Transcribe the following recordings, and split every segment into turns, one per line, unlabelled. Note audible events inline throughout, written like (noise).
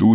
du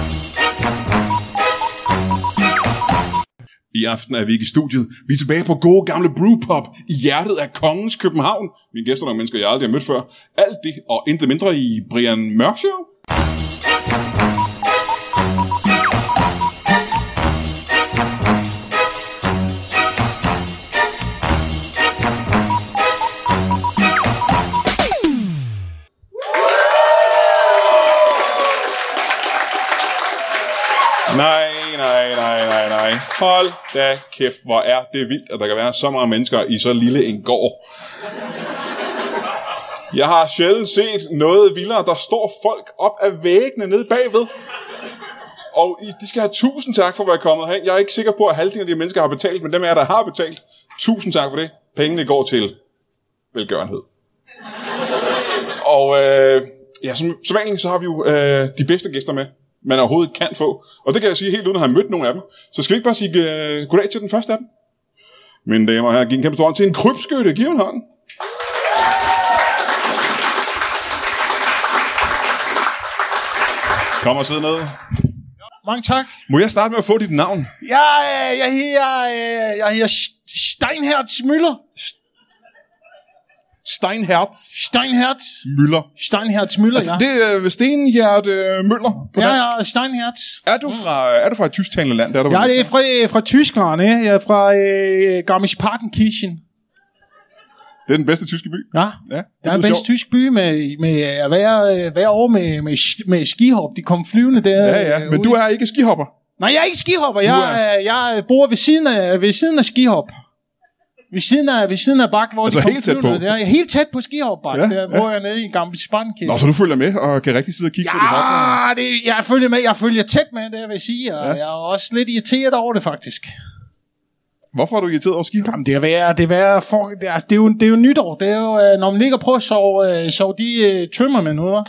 I aften er vi ikke i studiet. Vi er tilbage på gode gamle Brewpop i hjertet af kongens København. Mine gæster er nogle mennesker, jeg aldrig har mødt før. Alt det og intet mindre i Brian Mørk Show. Nej, nej, nej, nej, nej. Hold da kæft, hvor er det vildt, at der kan være så mange mennesker i så lille en gård. Jeg har sjældent set noget vildere. Der står folk op af væggene nede bagved. Og I- de skal have tusind tak for at være kommet her. Jeg er ikke sikker på, at halvdelen af de mennesker har betalt, men dem af jer, der har betalt, tusind tak for det. Pengene går til velgørenhed. Og øh, ja, som, som vanligt, så har vi jo øh, de bedste gæster med, man overhovedet kan få. Og det kan jeg sige helt uden at have mødt nogen af dem. Så skal vi ikke bare sige øh, goddag til den første af dem? Mine damer og herrer, giv en kæmpe stor hånd til en krybskytte. Giv en hånd. Kom og sid ned.
Mange tak.
Må jeg starte med at få dit navn?
Jeg, øh, jeg hedder, øh, jeg hedder Sch- Steinhertz Müller.
Steinherz
Steinhertz.
Møller.
Steinhertz Müller,
Altså,
altså,
ja.
ja.
det er Stenhjert øh, Møller på
Ja,
dansk.
ja, Steinhertz.
Er du fra, er du fra et tysktalende land? Det er du
Jeg
vel?
er fra, øh, fra Tyskland, eh? jeg er fra øh, Garmisch-Partenkirchen.
det er den bedste tyske by.
Ja,
Ja,
der er en
lyder sjovt.
bedst tysk by med, med øh, hver, øh, hver år med, med, sk- med skihop. De kom flyvende der.
Ja, ja, men
øh,
du
ud.
er ikke skihopper.
Nej, jeg er ikke skihopper. Jeg,
Du
er... jeg øh, bor ved siden af, ved siden af skihop. Ved siden af, ved siden af Bak, hvor
Altså
de kom
helt tæt
flyvende
på?
Der. Jeg er helt tæt på skihopbak,
Ja,
ja, der,
ja.
ja. hvor jeg er nede i Garmisch-Partenkirchen.
Nå, så du følger med og kan rigtig sidde og kigge på de hopper.
Ja, Ah, det, jeg følger med. Jeg følger tæt med, det jeg vil sige. Og
Ja.
ja. jeg er også lidt irriteret over det, faktisk.
Hvorfor er du irriteret over skihopper?
Jamen, det er værre, det er værre for, det, er- altså, det, er jo, det er jo nytår. Det er jo, øh, når man ligger på at sove, øh, sove de øh, tømmer med noget,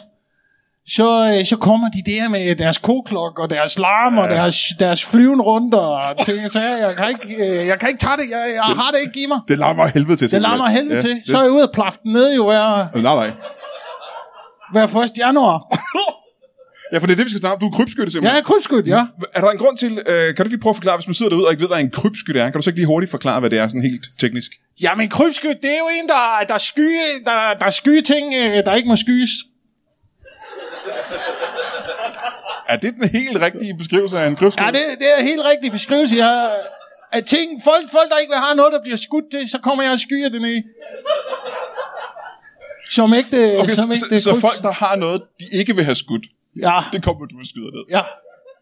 så, øh, så kommer de der med deres koklok og deres larm ja. og deres, deres flyven rundt og ting, så jeg, jeg, kan ikke, øh, jeg kan ikke tage det. Jeg, jeg har det ikke i mig.
Det larmer af helvede til.
Det larmer af helvede ja, til. Så er jeg ude og plafte den ned jo hver,
det... Nej, nej.
hver 1. januar.
Ja, for det er det, vi skal snakke om. Du er krybskytte
Jeg
simpelthen.
er krybskyld, ja.
Er der en grund til, øh, kan du ikke lige prøve at forklare, hvis man sidder derude og ikke ved, hvad en krybskytte er? Kan du så ikke lige hurtigt forklare, hvad det er sådan helt teknisk?
Jamen, krybskyt, det er jo en, der, der, sky, der, der sky ting, øh, der ikke må skyes.
Er det den helt rigtige beskrivelse af en krybskytte?
Ja, det, det er en helt rigtig beskrivelse. Jeg, at ting, folk, folk, der ikke vil have noget, der bliver skudt til, så kommer jeg og skyer det ned. Som ikke det,
Okay, så,
som ikke
så,
det
så folk, der har noget, de ikke vil have skudt,
Ja,
det kommer du og skyder ned.
ja.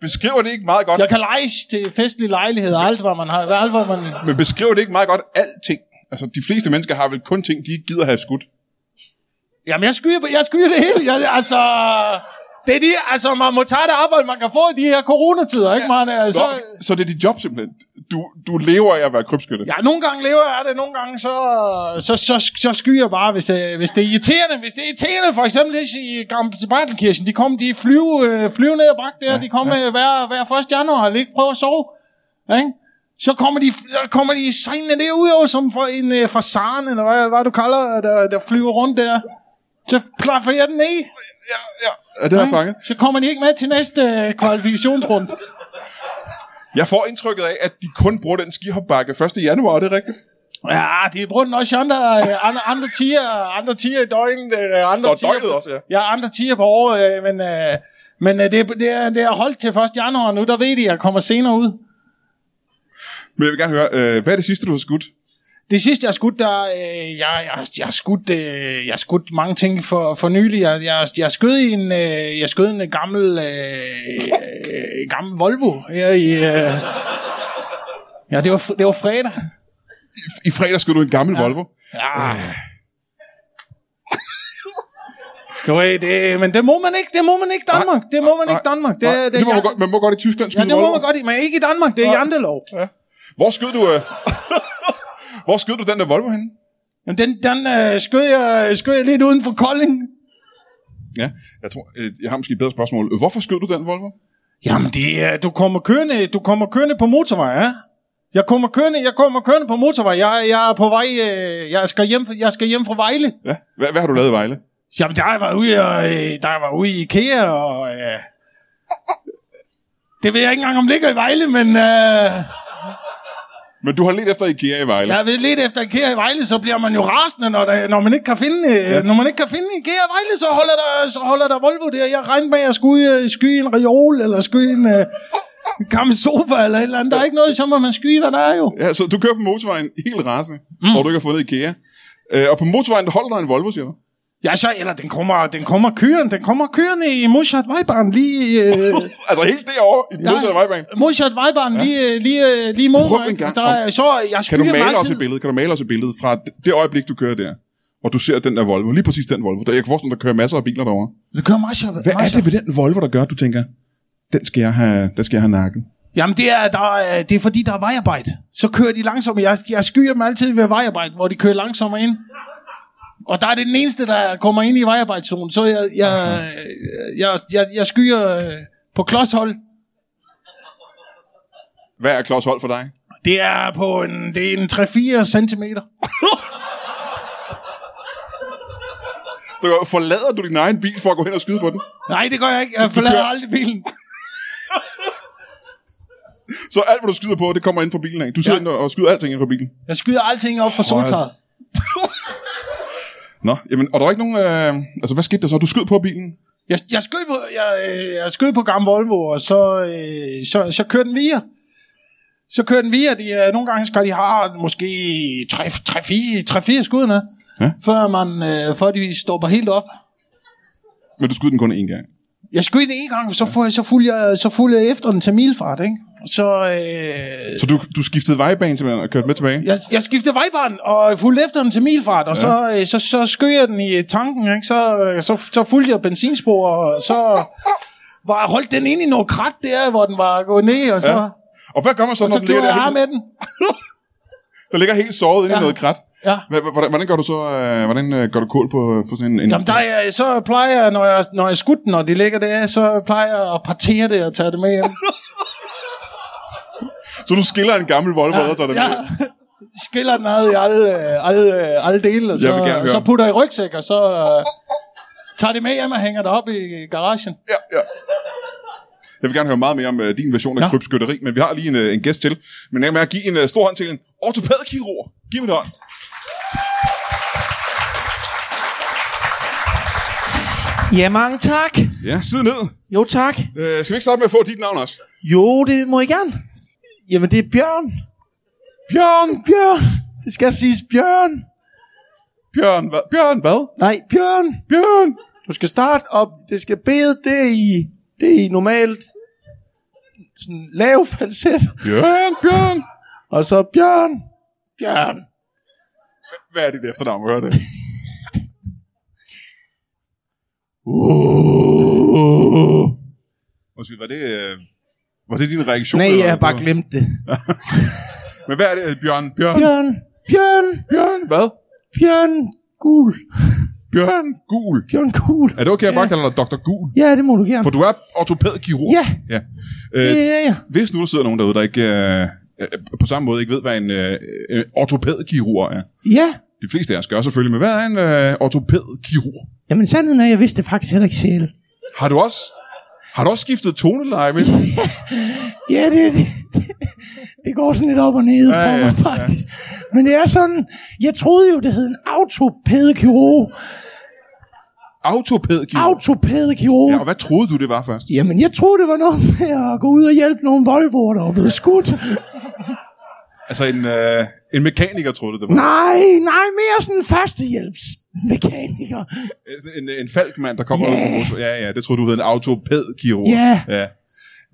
Beskriver det ikke meget godt?
Jeg kan lejse til festlige lejligheder, alt hvad man har, alt hvad man...
Men beskriver det ikke meget godt alting? Altså, de fleste mennesker har vel kun ting, de ikke gider have skudt.
Jamen, jeg skyer, jeg skyer det hele. Jeg, altså, det er de, altså, man må tage det arbejde, man kan få i de her coronatider, ikke? Man, øh,
Så,
så,
så det er dit job simpelthen. Du, du lever af at være krybskytte.
Ja, nogle gange lever jeg af det, nogle gange så, så, så, så skyer jeg bare, hvis, øh, hvis det er irriterende. Hvis det er irriterende, for eksempel hvis i Gammelbartelkirchen, de kom, de flyve, øh, flyve ned og brak der, ja, de kom ja. hver, hver 1. januar og ligge, prøve at sove. Ikke? Så kommer de, så kommer de sejlende derud, som for en øh, fasaren, eller hvad, hvad du kalder, øh, der, der flyver rundt der. Så plaffer jeg den ned.
ja, ja. Er det her
ikke?
fanget?
Så kommer de ikke med til næste øh, kvalifikationsrunde.
Jeg får indtrykket af, at de kun bruger den skihopbakke 1. januar, er det rigtigt?
Ja, de bruger den også i andre, øh, andre, andre tiger, andre tiger i døgnet, øh, andre
Og
tiger-
døgnet også, ja.
Ja, andre tiger på året, øh, men, øh, men øh, det, det, er, det er holdt til 1. januar nu, der ved de, at jeg kommer senere ud.
Men jeg vil gerne høre, øh, hvad er det sidste, du har skudt?
Det sidste, jeg har skudt, der, øh, jeg, jeg, jeg, har skudt, øh, jeg har skudt mange ting for, for nylig. Jeg, jeg, jeg, skød i en, øh, jeg skød en øh, gammel, øh, øh, gammel Volvo her i... Øh, ja, det var, fr- det var fredag.
I, i fredag skød du en gammel ja. Volvo.
Ja, Du ved, det, men det må man ikke, det må man ikke i Danmark. Det må man ikke i Danmark. Det,
Nej, det må man, godt, man må godt i Tyskland
Ja,
skyde
det må man
rødløver.
godt i, men ikke i Danmark. Det er jantelov.
Hvor skød du... Øh... (laughs) Hvor skød du den der Volvo henne?
Jamen, den, den øh, skød, jeg, skød jeg lidt uden for Kolding.
Ja, jeg tror, øh, jeg har måske et bedre spørgsmål. Hvorfor skød du den Volvo?
Jamen, det er, du kommer kørende, du kommer kørende på motorvej, ja? Jeg kommer kørende, jeg kommer kørende på motorvej. Jeg, jeg er på vej, øh, jeg skal hjem, jeg skal hjem fra Vejle.
Ja. Hvad, hvad har du lavet i Vejle?
Jamen, der var ude, og, øh, der var ude i IKEA, og... Øh, det ved jeg ikke engang, om det ligger i Vejle, men... Øh,
Men du har let efter IKEA i Vejle.
jeg ved lidt efter IKEA i Vejle, så bliver man jo rasende, når, der, når man ikke kan finde, ja. når man ikke kan finde IKEA i Vejle, så holder der, så holder der Volvo der. Jeg regnede med, at jeg skulle øh, skyde en reol, eller skyde en, øh, en gammel sofa, eller et eller andet. Der er ikke noget, så må man skyde, hvad der er jo.
Ja, så du kører på motorvejen helt rasende, mm. hvor du ikke har fundet IKEA. Øh, og på motorvejen der holder der en Volvo, siger du?
Ja, så, eller den kommer, den kommer køren, den kommer køren i Mozart Vejbarn lige... Øh,
Altså helt derovre i den modsatte vejbane.
Mozart Vejbarn ja. lige, øh, lige, øh, lige mod
Prøv
mig.
en gang.
Der, er- så jeg
Kan
skyer
du male
meget
os et billede? Kan du male os et billede fra det øjeblik, du kører der? Og du ser den der Volvo, lige præcis den Volvo. Der, jeg kan forestille mig, der kører masser af biler derovre.
Det kører Mozart.
Hvad er det ved den Volvo, der gør, at du tænker, den skal jeg have, den skal jeg have nakket?
Jamen, det er, der, er- det er fordi, der er vejarbejde. Så kører de langsommere. Jeg, jeg skyer dem altid ved vejarbejde, hvor de kører langsommere ind. Og der er det den eneste, der kommer ind i vejarbejdszonen. Så jeg, jeg, jeg, jeg, jeg skyer øh, på klodshold.
Hvad er Claus Holt for dig?
Det er på en, det er en 3-4 centimeter.
Så forlader du din egen bil for at gå hen og skyde på den?
Nej, det gør jeg ikke. Jeg
du
forlader
kører-
aldrig bilen.
Så alt, hvad du skyder på, det kommer ind fra bilen af. Du sidder
Ja.
ja. og skyder alting ind fra bilen.
Jeg skyder alting op fra soltaget.
Nå, jamen, og der var ikke nogen... Øh, altså, hvad skete der så? Du skød på bilen?
Jeg, jeg skød på, jeg, øh, jeg skød på gammel Volvo, og så, øh, så, så kørte den via. Så kørte den via. De, øh, nogle gange skal de have måske 3-4 skud med,
Ja.
før, man, øh, før de stopper helt op.
Men du skød den kun én gang.
Jeg skød den en gang, så, får jeg, så, fulgte jeg, så fulgte jeg efter den til milfart, ikke? Så øh,
Så du, du skiftede vejbane simpelthen og kørte med tilbage?
jeg, jeg skiftede vejbarn og fulgte efter den til milfart, og ja. så, øh, så, så skød jeg den i tanken, ikke? Så, øh, så, så fulgte jeg benzinspor, og så var, holdt den ind i noget krat der, hvor den var gået ned, og så...
Ja.
Ja.
Og hvad gør man så, når
Så
den ligger
gjorde jeg
der,
af
helt,
med den.
der ligger helt såret inde i
Ja.
noget krat?
Ja.
Hva- hva- Hvordan, hvordan gør du så øh, hvordan øh, gør du kål på, på sådan en... en
Jamen, der er, så plejer jeg, når jeg, når jeg skudt den, og det ligger der, så plejer jeg at partere det og tage det
(laughs)
med hjem.
Så du skiller en gammel Volvo ja, og tager den ja. med?
(laughs) Skiller den ad i alle, øh, alle, øh, alle dele, og
Jeg vil gerne
så,
høre.
så putter jeg i rygsæk, og så uh, tager det med hjem og hænger det op i garagen.
Ja, ja. Jeg vil gerne høre meget mere om øh, din version af ja.
Ja.
krybskytteri, men vi har lige en, øh, en gæst til. Men jeg vil give en øh, stor hånd til en ortopædkirurg. Giv mig en hånd.
Ja, mange tak.
Ja, sid ned.
Jo, tak.
Øh, skal vi ikke starte med at få dit navn også?
Jo, det må I gerne. Jamen, det er Bjørn. Bjørn, Bjørn. Det skal siges Bjørn.
Bjørn hvad? Bjørn hvad?
Nej, Bjørn.
Bjørn!
Du skal starte op. Det skal bede. Det er i, det er i normalt sådan lav falset.
Bjørn, Bjørn!
Og så Bjørn. Bjørn.
Hvad er dit efternavn? Hvad er det?
Uh.
Måske, var det... Øh, var det din reaktion?
Nej,
eller
jeg har
hvad?
bare glemt det.
Men hvad er det, øh, Bjørn? Bjørn?
Bjørn. Bjørn.
Bjørn hvad?
Bjørn. Gul.
Bjørn Gul.
Bjørn Gul.
Er det okay, jeg bare kalder dig Dr. Gul?
Ja, det må du gerne.
For du er ortopædkirurg.
Ja.
ja. Øh,
Det er jeg.
Hvis nu der sidder nogen derude, der ikke øh, øh, på samme måde ikke ved, hvad en øh, øh, ortopædkirurg er.
Ja.
De fleste af os gør selvfølgelig, men hvad er en øh, ortopædkirurg?
Jamen sandheden er, at jeg vidste det faktisk heller ikke selv.
Har du også, har du også skiftet toneleje med?
Ja, det, (laughs) det, det går sådan lidt op og ned
Ja,
for
ja,
mig
ja.
faktisk. Men det er sådan, jeg troede jo, det hed en autopædekirurg.
Autopædkirurg.
Autopædekirurg.
Ja, og hvad troede du, det var først?
Jamen, jeg troede, det var noget med at gå ud og hjælpe nogle Volvoer, der var blevet skudt.
Altså en, øh, en mekaniker troede du, det var.
Nej, nej, mere sådan en førstehjælpsmekaniker.
Altså, En, en falkmand, der kommer
Ja.
ud på motor- Ja, ja, det troede du hed en autopædkirurg.
Ja.
ja.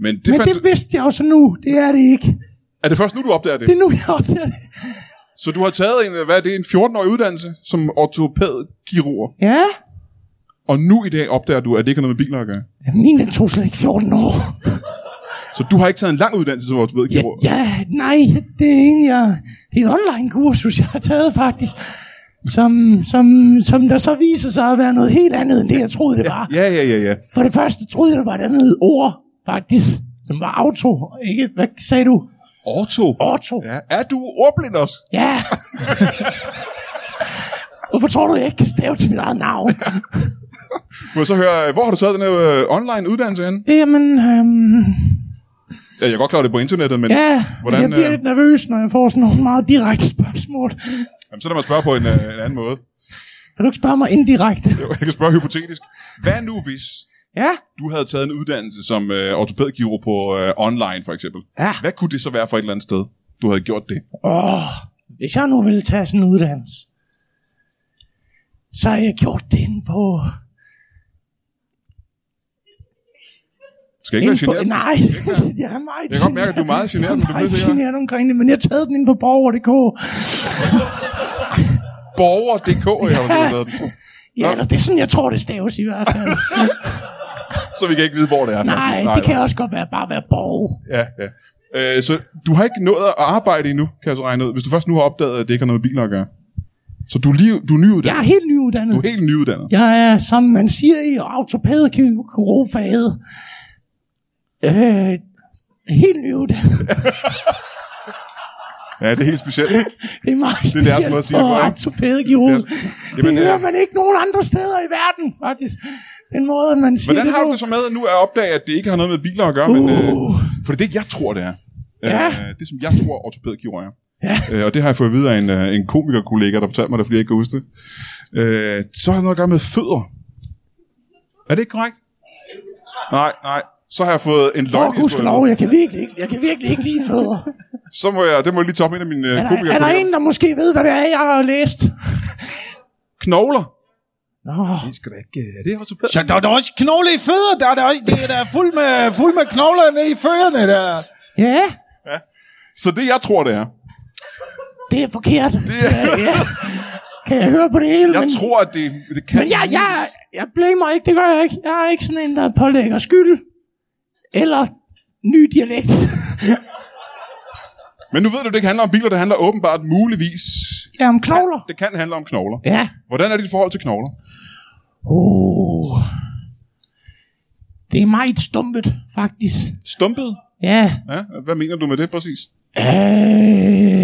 Men det,
Det Men
fandt,
det vidste jeg jo så nu. Det er det ikke.
er det først nu, du opdager det?
Det er nu, jeg opdager det.
Så du har taget en, øh, hvad er det, en 14-årig uddannelse som ortopædkirurg?
Ja,
Og nu i dag opdager du, at det ikke har noget med biler at gøre.
Jamen, min den tog slet ikke 14 år.
Så du har ikke taget en lang uddannelse som
Ja,
ortopædkirurg?
ja, nej, det er egentlig jeg, det er et online kursus, jeg har taget faktisk. Som, som, som der så viser sig at være noget helt andet, end det jeg troede, det var.
Ja, ja, ja, ja.
For det første troede jeg, der var et andet ord, faktisk, som var auto, og ikke? Hvad sagde du?
Orto.
Auto.
Ja. Er du ordblind også? (laughs)
Ja. Hvorfor tror du, jeg ikke kan stave til mit eget navn?
Må jeg så høre, hvor har du taget den her øh, online uddannelse hen?
Jamen, øhm,
Ja, jeg er godt klar, det er på internettet, men
ja,
Hvordan,
Hvordan, jeg bliver
øh,
lidt nervøs, når jeg får sådan nogle meget direkte spørgsmål.
jamen, så lad mig spørge på en, øh, en anden måde. (laughs)
Kan du ikke spørge mig indirekte?
Jo, Jeg kan spørge hypotetisk. Hvad nu hvis
Ja,
du havde taget en uddannelse som øh, ortopædkirurg på øh, online, for eksempel?
ja.
Hvad kunne det så være for et eller andet sted, du havde gjort det?
Åh, hvis jeg nu ville tage sådan en uddannelse, så har jeg gjort det inde på...
Skal ikke være
på
generet? (laughs)
nej, (laughs)
Du skal ikke være-
jeg er meget
Jeg kan godt mærke, at du er meget genert, men
Jeg
du
er meget
ved det her.
generet omkring det, men jeg har taget den ind på borger.dk.
Borger.dk, jeg har ja. den.
Ja, eller det er sådan, jeg tror, det staves i hvert
(laughs)
fald.
Så vi kan ikke vide, hvor det er.
nej, det kan også godt være bare være borg.
Ja, ja. Øh, så du har ikke nået at arbejde endnu, kan jeg så regne ud, hvis du først nu har opdaget, at det ikke har noget med biler at gøre. Så du er, lige, du er nyuddannet.
Jeg er helt nyuddannet.
Du er helt nyuddannet.
Jeg er, som man siger i autopædkirurgfaget, øh, helt nyuddannet.
Ja, det er helt specielt.
(laughs) Det er meget
er deres
specielt
måde
for
at sige det på, ikke?
autopædkirurg.
Det
Det,
Jamen,
det hører
øh,
man ikke nogen andre steder i verden, faktisk. Den måde, man siger
Hvordan
det
har du
på.
det så med nu at opdage, at det ikke har noget med biler at gøre? Men, øh, for det er det, jeg tror, det er.
Uh. Ja.
Øh, det, som jeg tror, ortopædkirurg er.
Ja.
Øh, og det har jeg fået at vide af en, øh, en komikerkollega, der fortalte mig det, fordi jeg ikke kan huske det. Øh, så har det noget at gøre med fødder. Er det ikke korrekt? Nej, nej. Så har jeg fået en løgn.
Åh, gudskelov, jeg kan virkelig ikke, jeg kan virkelig ikke lide fødder.
Så må jeg, det må jeg lige tage op med en af mine øh,
Er der, er der
komikerkolleger.
en, der måske ved, hvad det er, jeg har læst?
Knogler.
Nå,
Det skal da ikke... øh, Er det ortopæd?
Så der er da også knogle i fødder. Der er der, også- det er der fuld med, fuld med knogler nede i fødderne. Der.
ja,
Så det, jeg tror, det er.
det er forkert. Det er... Ja, ja. Kan jeg høre på det hele?
Jeg
men...
tror, at det, det kan...
Men jeg, jeg, jeg blamer ikke, det gør jeg ikke. Jeg er ikke sådan en, der pålægger skyld. Eller ny dialekt.
Men nu ved du, det ikke handler om biler, det handler åbenbart muligvis...
Jeg er om knogler.
Det kan handle om knogler.
Ja.
Hvordan er dit forhold til knogler?
Oh. Det er meget stumpet, faktisk.
Stumpet?
Ja.
Ja, hvad mener du med det præcis?
Øh,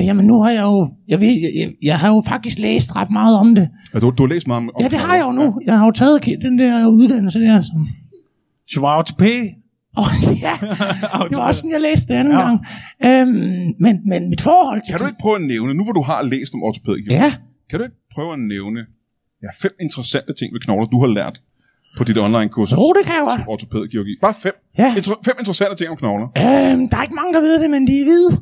jamen nu har jeg jo... Jeg, ved, jeg, jeg, jeg har jo faktisk læst ret meget om det.
Ja, du, du har læst meget om, om
Ja, det har jeg jo nu. Jeg har jo taget ki- den der uddannelse der, som...
Så var ATP.
Åh, (laughs) oh, ja. Det var også sådan, jeg læste det anden ja. gang. Øhm, men, men mit forhold til...
Kan du ikke prøve at nævne, nu hvor du har læst om ortopædik,
Ja.
kan du ikke prøve at nævne ja, fem interessante ting ved knogler, du har lært på dit online-kursus?
Jo, det kan jeg godt.
ortopædkirurgi. Bare fem.
Ja.
Inter- fem interessante ting om knogler.
Øhm, der er ikke mange, der ved det, men de er hvide.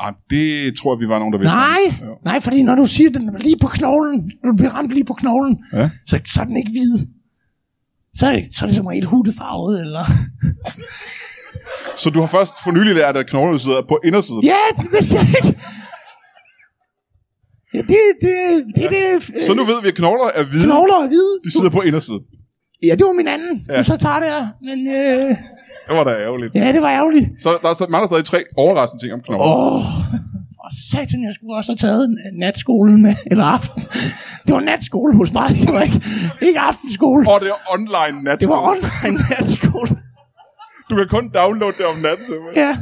Ah, det tror jeg, vi var nogen, der vidste.
Nej,
Ja.
nej, fordi når du siger, at den er lige på knoglen, når du bliver ramt lige på knoglen,
Ja.
så, så er den ikke hvid. Så er, det, så er det som regel hudfarvet, eller... (laughs)
Så du har først for nylig lært, at knoglerne sidder på indersiden.
Ja, det vidste jeg ikke. Ja, det, det, det, det, øh,
Så nu ved vi, at knogler er hvide.
Knogler er hvide.
De sidder på indersiden.
Ja, det var min anden,
Ja.
ja. du så tager det her. Men øh,
Det var da ærgerligt.
ja, det var ærgerligt.
Så der er, så- mangler stadig tre overraskende ting om knogler.
Åh, oh, for satan, jeg skulle også have taget n- natskolen med, eller aften. Det var natskole hos mig, det var ikke, ikke aftenskole.
Og det er online nat.
Det var
(laughs)
online natskole.
Du kan kun downloade det om natten, simpelthen.
Ja.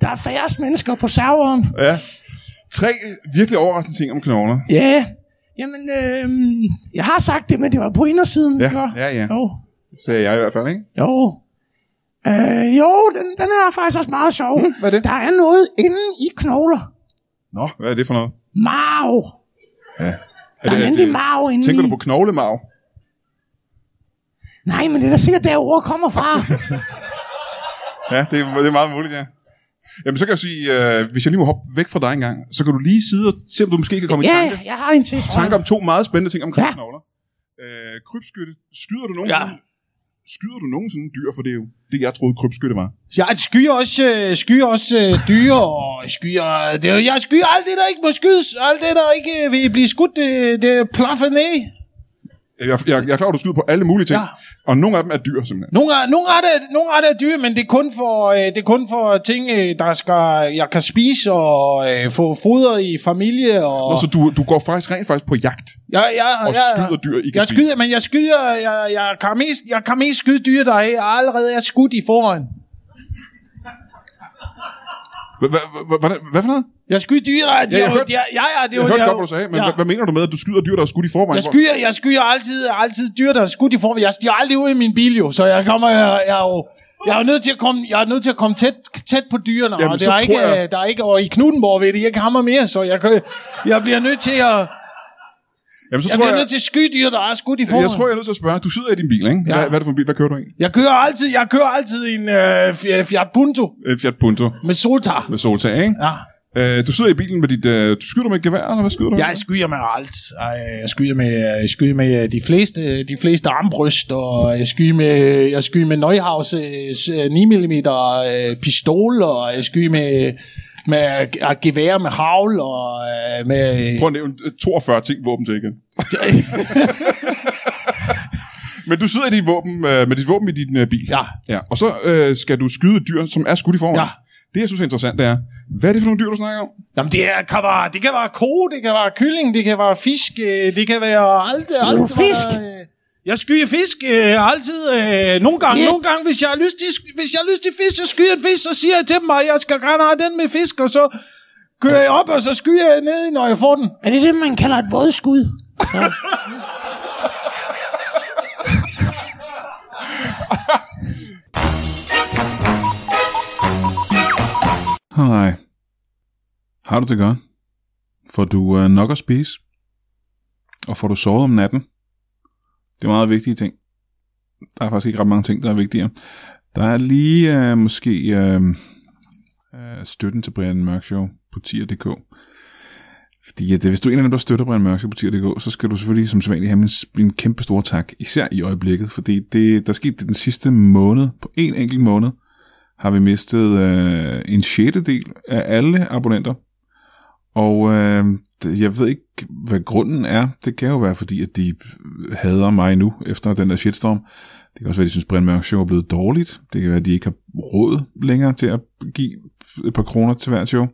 Der er færrest mennesker på serveren.
Ja. Tre virkelig overraskende ting om knogler.
Ja. Jamen, øh, jeg har sagt det, men det var på indersiden.
Ja,
ikke hva'?
ja, ja.
Jo.
Sagde jeg i hvert fald, ikke?
Jo. Øh, jo, den, den er faktisk også meget sjov. Mm,
Hm, hvad er det?
Der er noget inde i knogler.
Nå, hvad er det for noget?
Marv.
Ja.
Der er, nemlig marv inde
Tænker
i.
du på knoglemarv?
Nej, men det er da sikkert, der ord kommer fra.
(laughs) Ja, det er, det er meget muligt, ja. Jamen, så kan jeg sige, øh, hvis jeg lige må hoppe væk fra dig engang, så kan du lige sidde og se, om du måske kan komme
ja,
i tanke.
jeg har en til. tror jeg.
tanker om to meget spændende ting omkring ja.
Ja.
knogler. Øh, krybskytte, skyder du nogen?
Ja.
Skyder du nogensinde dyr, for det er jo det, jeg troede krybskytte var.
Jeg skyer også, øh, skyer også øh, dyre, og skyer, det, er jo- jeg skyer alt det, der ikke må skydes, alt det, der ikke øh, vil blive skudt, det, det plaffer ned.
Jeg, jeg, jeg er klar, at du skyder på alle mulige ting.
Ja.
Ja. Og nogle af dem er dyr, simpelthen.
Nogle er, nogle, er det, nogle er det dyre, men det er kun for, øh, det er kun for ting, øh, der skal, jeg kan spise og øh, få foder i familie. Og,
Og så du, du går faktisk rent faktisk på jagt.
jeg, jeg,
og skyder dyr, I kan
Jeg
spise.
skyder, men jeg skyder, jeg, jeg, kan mest, jeg kan mest skyde dyr, der er allerede er skudt i forhånd.
Hva- hva- hva- hvordan- Hvad for noget?
Jeg skyder dyr, der er... de
jeg
er jo-
hørte-
de er- Ja, ja, det
Jeg
er jo...
hørte
de er
godt,
jo-
hvad du sagde, men
ja.
hva- hvad mener du med, at du skyder dyr, der er skudt i forvejen?
Jeg skyer, jeg skyer altid, altid dyr, der er skudt i form. Jeg stiger aldrig ud i min bil, jo, så jeg kommer, jeg, jeg er jo... Jeg er jo nødt til at komme, jeg er nødt til at komme tæt, tæt på dyrene,
Jamen,
og
så
det er
tror
ikke,
jeg-
der er ikke, og i Knuttenborg ved det, jeg kan hammer mere, så jeg, kan, jeg bliver nødt til at, jeg,
Jamen, så
jeg
tror
bliver
jeg,
nødt til at skyde dyr, der er skudt i
jeg,
forvejen.
tror, jeg er nødt til at spørge. Du sidder i din bil, ikke?
Ja.
Ja. Hvad, hvad er det for en bil? Hvad kører du i?
jeg, kører altid, jeg kører altid i en øh, Fiat- Fiat Punto
Øh, Fiat Punto
med soltar.
med soltag, ikke?
Ja.
Øh, du sidder i bilen med dit... Øh, du skyder med et gevær, eller hvad skyder du? med?
Jeg skyer med alt. Ej, Jeg skyer med, jeg skyer med øh, de fleste, de fleste armbryst, og jeg skyer med, øh, jeg skyer med Neuhaus 9 mm pistol, og jeg skyer med, med øh, gevær med havl, og øh, med...
Prøv at nævne øh, 42 ting våben til
(laughs)
igen. Men du sidder i dit våben, øh, med dit våben i din øh, bil.
Ja.
ja. Og så øh, skal du skyde et dyr, som er skudt i forvejen.
Ja.
Det, jeg synes er interessant, det er, hvad er det for nogle dyr, du snakker om?
Jamen, det er, kan være, det kan være ko, det kan være kylling, det kan være fisk, øh, det kan være alt. alt
Jo, fisk.
hvad, øh, Jeg skyer fisk øh, altid. Øh, nogle gange,
Ja.
nogle gange, hvis jeg har lyst til, hvis jeg har lyst til fisk, så skyer jeg en fisk, så siger jeg til dem, at jeg skal gerne have den med fisk, og så kører jeg op, og så skyer jeg ned, når jeg får den.
Er det det, man kalder et vådskud?
Hej. Har du det godt? Får du øh, nok at spise? Og får du sovet om natten? Det er meget vigtige ting. Der er faktisk ikke ret mange ting, der er vigtigere. Der er lige øh, måske øh, øh, støtten til Brian Mørk Show på tier.dk. Fordi at, øh, hvis du er en af dem, der støtter Brian Mørk Show på tier.dk, så skal du selvfølgelig som sædvanligt have min, min kæmpe store tak, især i øjeblikket. Fordi det, der skete det den sidste måned, på en enkelt måned, har vi mistet øh, en sjettedel af alle abonnenter. Og øh, det- jeg ved ikke, hvad grunden er. Det kan jo være, fordi at de hader mig nu efter den der shitstorm. Det kan også være, at de synes, at Brian Mørk Show er blevet dårligt. Det kan være, at de ikke har råd længere til at give et par kroner til hvert show.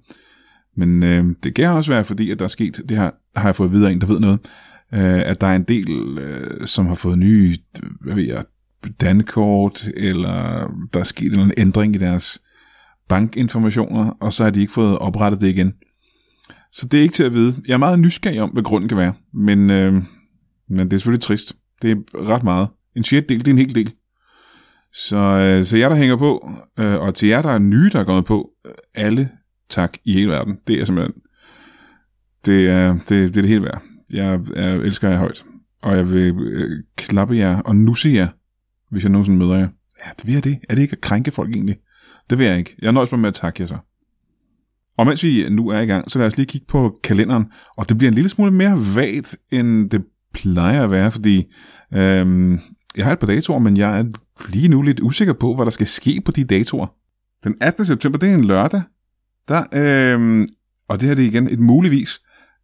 Men øh, det kan også være, fordi at der er sket, det her har jeg fået videre af en, der ved noget, øh, at der er en del, øh, som har fået nye, hvad ved jeg, dankort, eller der er sket en eller anden ændring i deres bankinformationer, og så har de ikke fået oprettet det igen. Så det er ikke til at vide. Jeg er meget nysgerrig om, hvad grunden kan være, men, øh, men det er selvfølgelig trist. Det er ret meget. En sjettedel, det er en hel del. Så, øh, så jer, der hænger på, øh, og til jer, der er nye, der er kommet på, øh, alle tak i hele verden. Det er simpelthen, det er det, det, er det hele værd. Jeg, jeg elsker jer højt, og jeg vil øh, klappe jer og nusse jer, hvis jeg nogensinde møder jer. Ja, det vil jeg det. Er det ikke at krænke folk egentlig? Det vil jeg ikke. Jeg nøjes bare med at takke jer så. Og mens vi nu er i gang, så lad os lige kigge på kalenderen. Og det bliver en lille smule mere vagt, end det plejer at være, fordi øhm, jeg har et par datoer, men jeg er lige nu lidt usikker på, hvad der skal ske på de datoer. Den 18. september, det er en lørdag. Der, øhm, og det her det er igen et muligvis.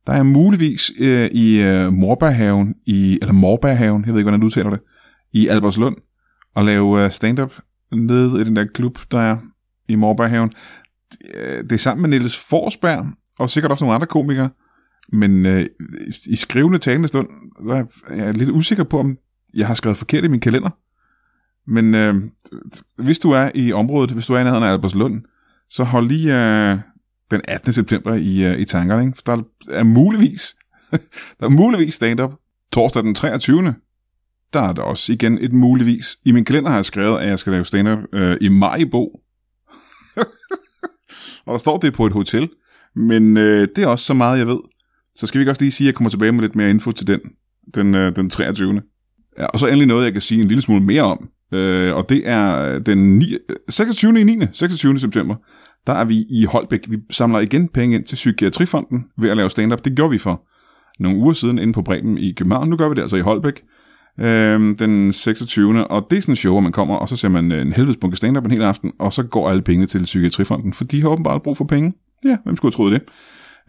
Der er muligvis øh, i øh, Morbærhaven, i, eller Morbærhaven, jeg ved ikke, hvordan du udtaler det, i Albertslund og lave øh, stand-up nede i den der klub, der er i Morbærhaven. Øh, Det er sammen med Niels Forsberg, og sikkert også nogle andre komikere. Men øh, i- i skrivende talende stund, der er jeg er lidt usikker på, om jeg har skrevet forkert i min kalender. Men øh, hvis du er i området, hvis du er i nærheden af Albertslund, så hold lige øh, den 18. september i, øh, i tankerne. Ikke? For der er muligvis, (laughs) der er muligvis stand-up torsdag den 23 der er der også igen et muligvis. I min kalender har jeg skrevet, at jeg skal lave stand-up øh, i Majbo. (laughs) og der står det er på et hotel. Men øh, det er også så meget, jeg ved. Så skal vi ikke også lige sige, at jeg kommer tilbage med lidt mere info til den, den, øh, den 23. Ja, og så endelig noget, jeg kan sige en lille smule mere om. Øh, og det er den 9, 26. i 9. 26. september. Der er vi i Holbæk. Vi samler igen penge ind til Psykiatrifonden ved at lave stand-up. Det gjorde vi for nogle uger siden inde på Bremen i København. Nu gør vi det altså i Holbæk. øhm, den 26. Og det er sådan en show, hvor man kommer, og så ser man øh, en helvedes bunke stand en hel aften, og så går alle pengene til Psykiatrifonden, for de har åbenbart brug for penge. Ja, hvem skulle have troet det?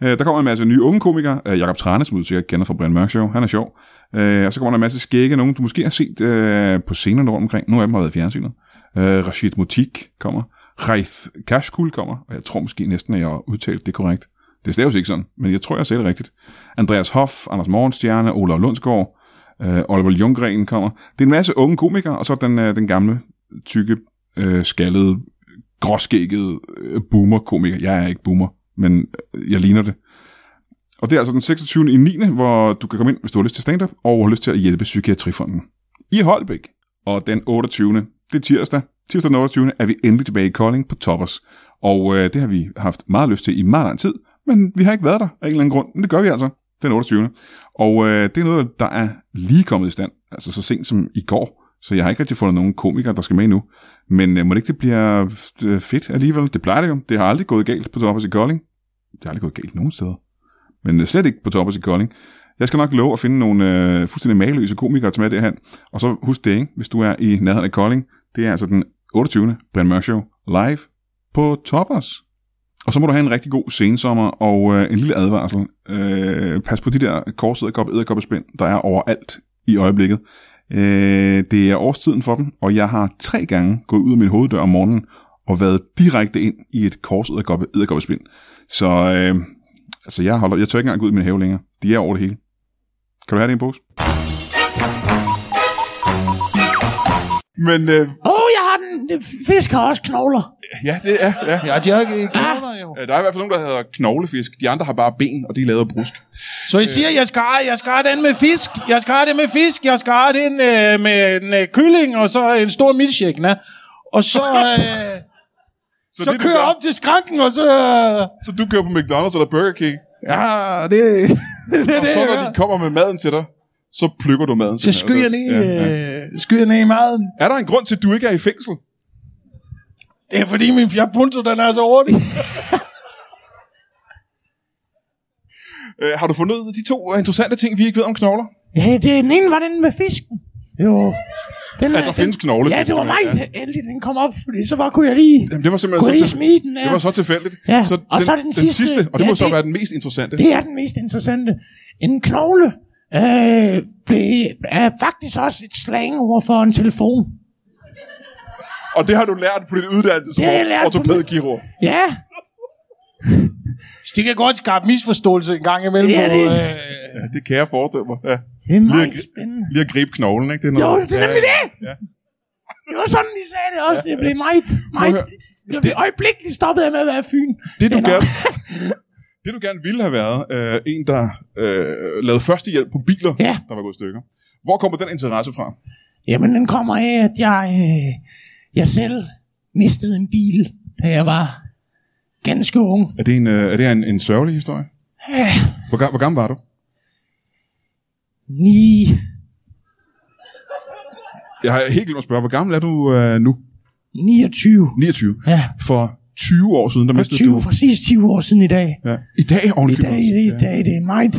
Øh, der kommer en masse nye unge komikere. Øh, Jakob Trane, som du sikkert kender fra Brian Mørk Show. Han er sjov. Øh, og så kommer der en masse skægge, nogen du måske har set øh, på scenerne rundt omkring. Nogle af dem har været i fjernsynet. Øh, Rashid Motik kommer. Reif Kashkul kommer. Og jeg tror måske næsten, at jeg har udtalt det korrekt. Det staves ikke sådan, men jeg tror, jeg sagde det rigtigt. Andreas Hoff, Anders Morgenstjerne, Olav Lundsgaard, øh, Oliver Ljunggren kommer. Det er en masse unge komikere, og så den, øh, den gamle, tykke, øh, skaldede, gråskæggede øh, boomer-komiker. Jeg er ikke boomer, men øh, jeg ligner det. Og det er altså den 26. i 9., hvor du kan komme ind, hvis du har lyst til stand-up, og har lyst til at hjælpe Psykiatrifonden. I Holbæk. Og den 28. Det er tirsdag. Tirsdag den 28. er vi endelig tilbage i Kolding på Toppers. Og øh, det har vi haft meget lyst til i meget lang tid, men vi har ikke været der af en eller anden grund. Men det gør vi altså den 28. Og øh, det er noget, der er lige kommet i stand. Altså så sent som i går. Så jeg har ikke rigtig fundet nogen komikere, der skal med endnu. Men øh, må det ikke det bliver øh, fedt alligevel? Det plejer det jo. Det har aldrig gået galt på Toppers i Kolding. Det har aldrig gået galt nogen steder. Men øh, slet ikke på Toppers i Kolding. Jeg skal nok love at finde nogle øh, fuldstændig mageløse komikere til med derhen. Og så husk det, ikke? hvis du er i nærheden af Kolding. Det er altså den 28. Brian Mørk Show live på Toppers. Og så må du have en rigtig god sensommer og øh, en lille advarsel. Øh, pas på de der korsedderkop, æderkoppespind, der er overalt i øjeblikket. Øh, det er årstiden for dem, og jeg har tre gange gået ud af min hoveddør om morgenen og været direkte ind i et korsedderkoppe, æderkoppespind. Så øh, altså jeg, holder, jeg tør ikke engang gå ud i min have længere. De er over det hele. Kan du have det i en pose? Men øh,
Åh, oh, jeg har den. Det- Fisk har også knogler.
ja, det er, ja.
Ja, de har ikke knogler jo.
Øh, Der er i hvert fald nogen, der hedder knoglefisk. De andre har bare ben, og de er lavet af brusk.
Så I siger, jeg skar, jeg skar den med fisk, jeg skar det med fisk, jeg skar den øh, med en øh, kylling, og så en stor milkshake, na. Og (laughs) så, øh, så, så
det, du
kører jeg
gør-
op til skranken, og så... Øh,
Så du kører på McDonald's eller Burger King,
ja, det, (laughs) det, det,
og så når de kommer med maden til dig, så plukker du maden til
Så
dem.
skyder jeg ned, ja, ja. skyder ned i maden.
øh,
Er der en grund til, at du ikke er i fængsel?
Det er fordi min fjerpunto, den er så hurtig.
Øh, har du fundet ud af de to interessante ting, vi ikke ved om knogler?
Ja, det, den ene var den med fisken. Jo. Den,
der findes knoglefisk,
Ja, det var mig.
ja.
Endelig, den kom op, fordi så bare kunne jeg lige...
Jamen, det var simpelthen
Kunne jeg
så
lige smide den, ja.
Det var så tilfældigt.
Ja,
Så
og så er det den sidste.
sidste. og det
Ja,
må så
det-
være den mest interessante.
Det er den mest interessante. En knogle øh, blev, er faktisk også et slangord for en telefon.
Og det har du lært på dit uddannelse som
Det har jeg lært på min-
ortopædkirurg.
Ja,
(laughs) det kan godt skabe misforståelse en gang imellem.
Ja,
på,
det-
øh,
Ja, det kan jeg forestille mig. Ja.
det er meget
Lige-
spændende.
Lige at gribe knoglen, ikke? Det er
Jo,
noget.
det er nemlig det. Det var sådan, de sagde det også. Det blev meget, meget...
Prøv at
Det blev øjeblikkeligt stoppet af med at være fyn.
Det du,
Eller-
gerne, det du gerne ville have været, øh, en der øh, lavede førstehjælp på biler,
Ja.
der var gået i stykker. Hvor kommer den interesse fra?
Jamen, den kommer af, at jeg, øh, jeg selv mistede en bil, da jeg var ganske ung.
Er det en, øh, er det en, en sørgelig historie?
Ja.
Hvor, ga- hvor gammel var du?
Ni,
Jeg har helt glemt at spørge, hvor gammel er du øh, nu?
29.
29.
Ja,
For 20 år siden, der
for
mistede
20,
du...
præcis 20 år siden i dag.
Ja. I dag oven
I dag, i dag, det er meget,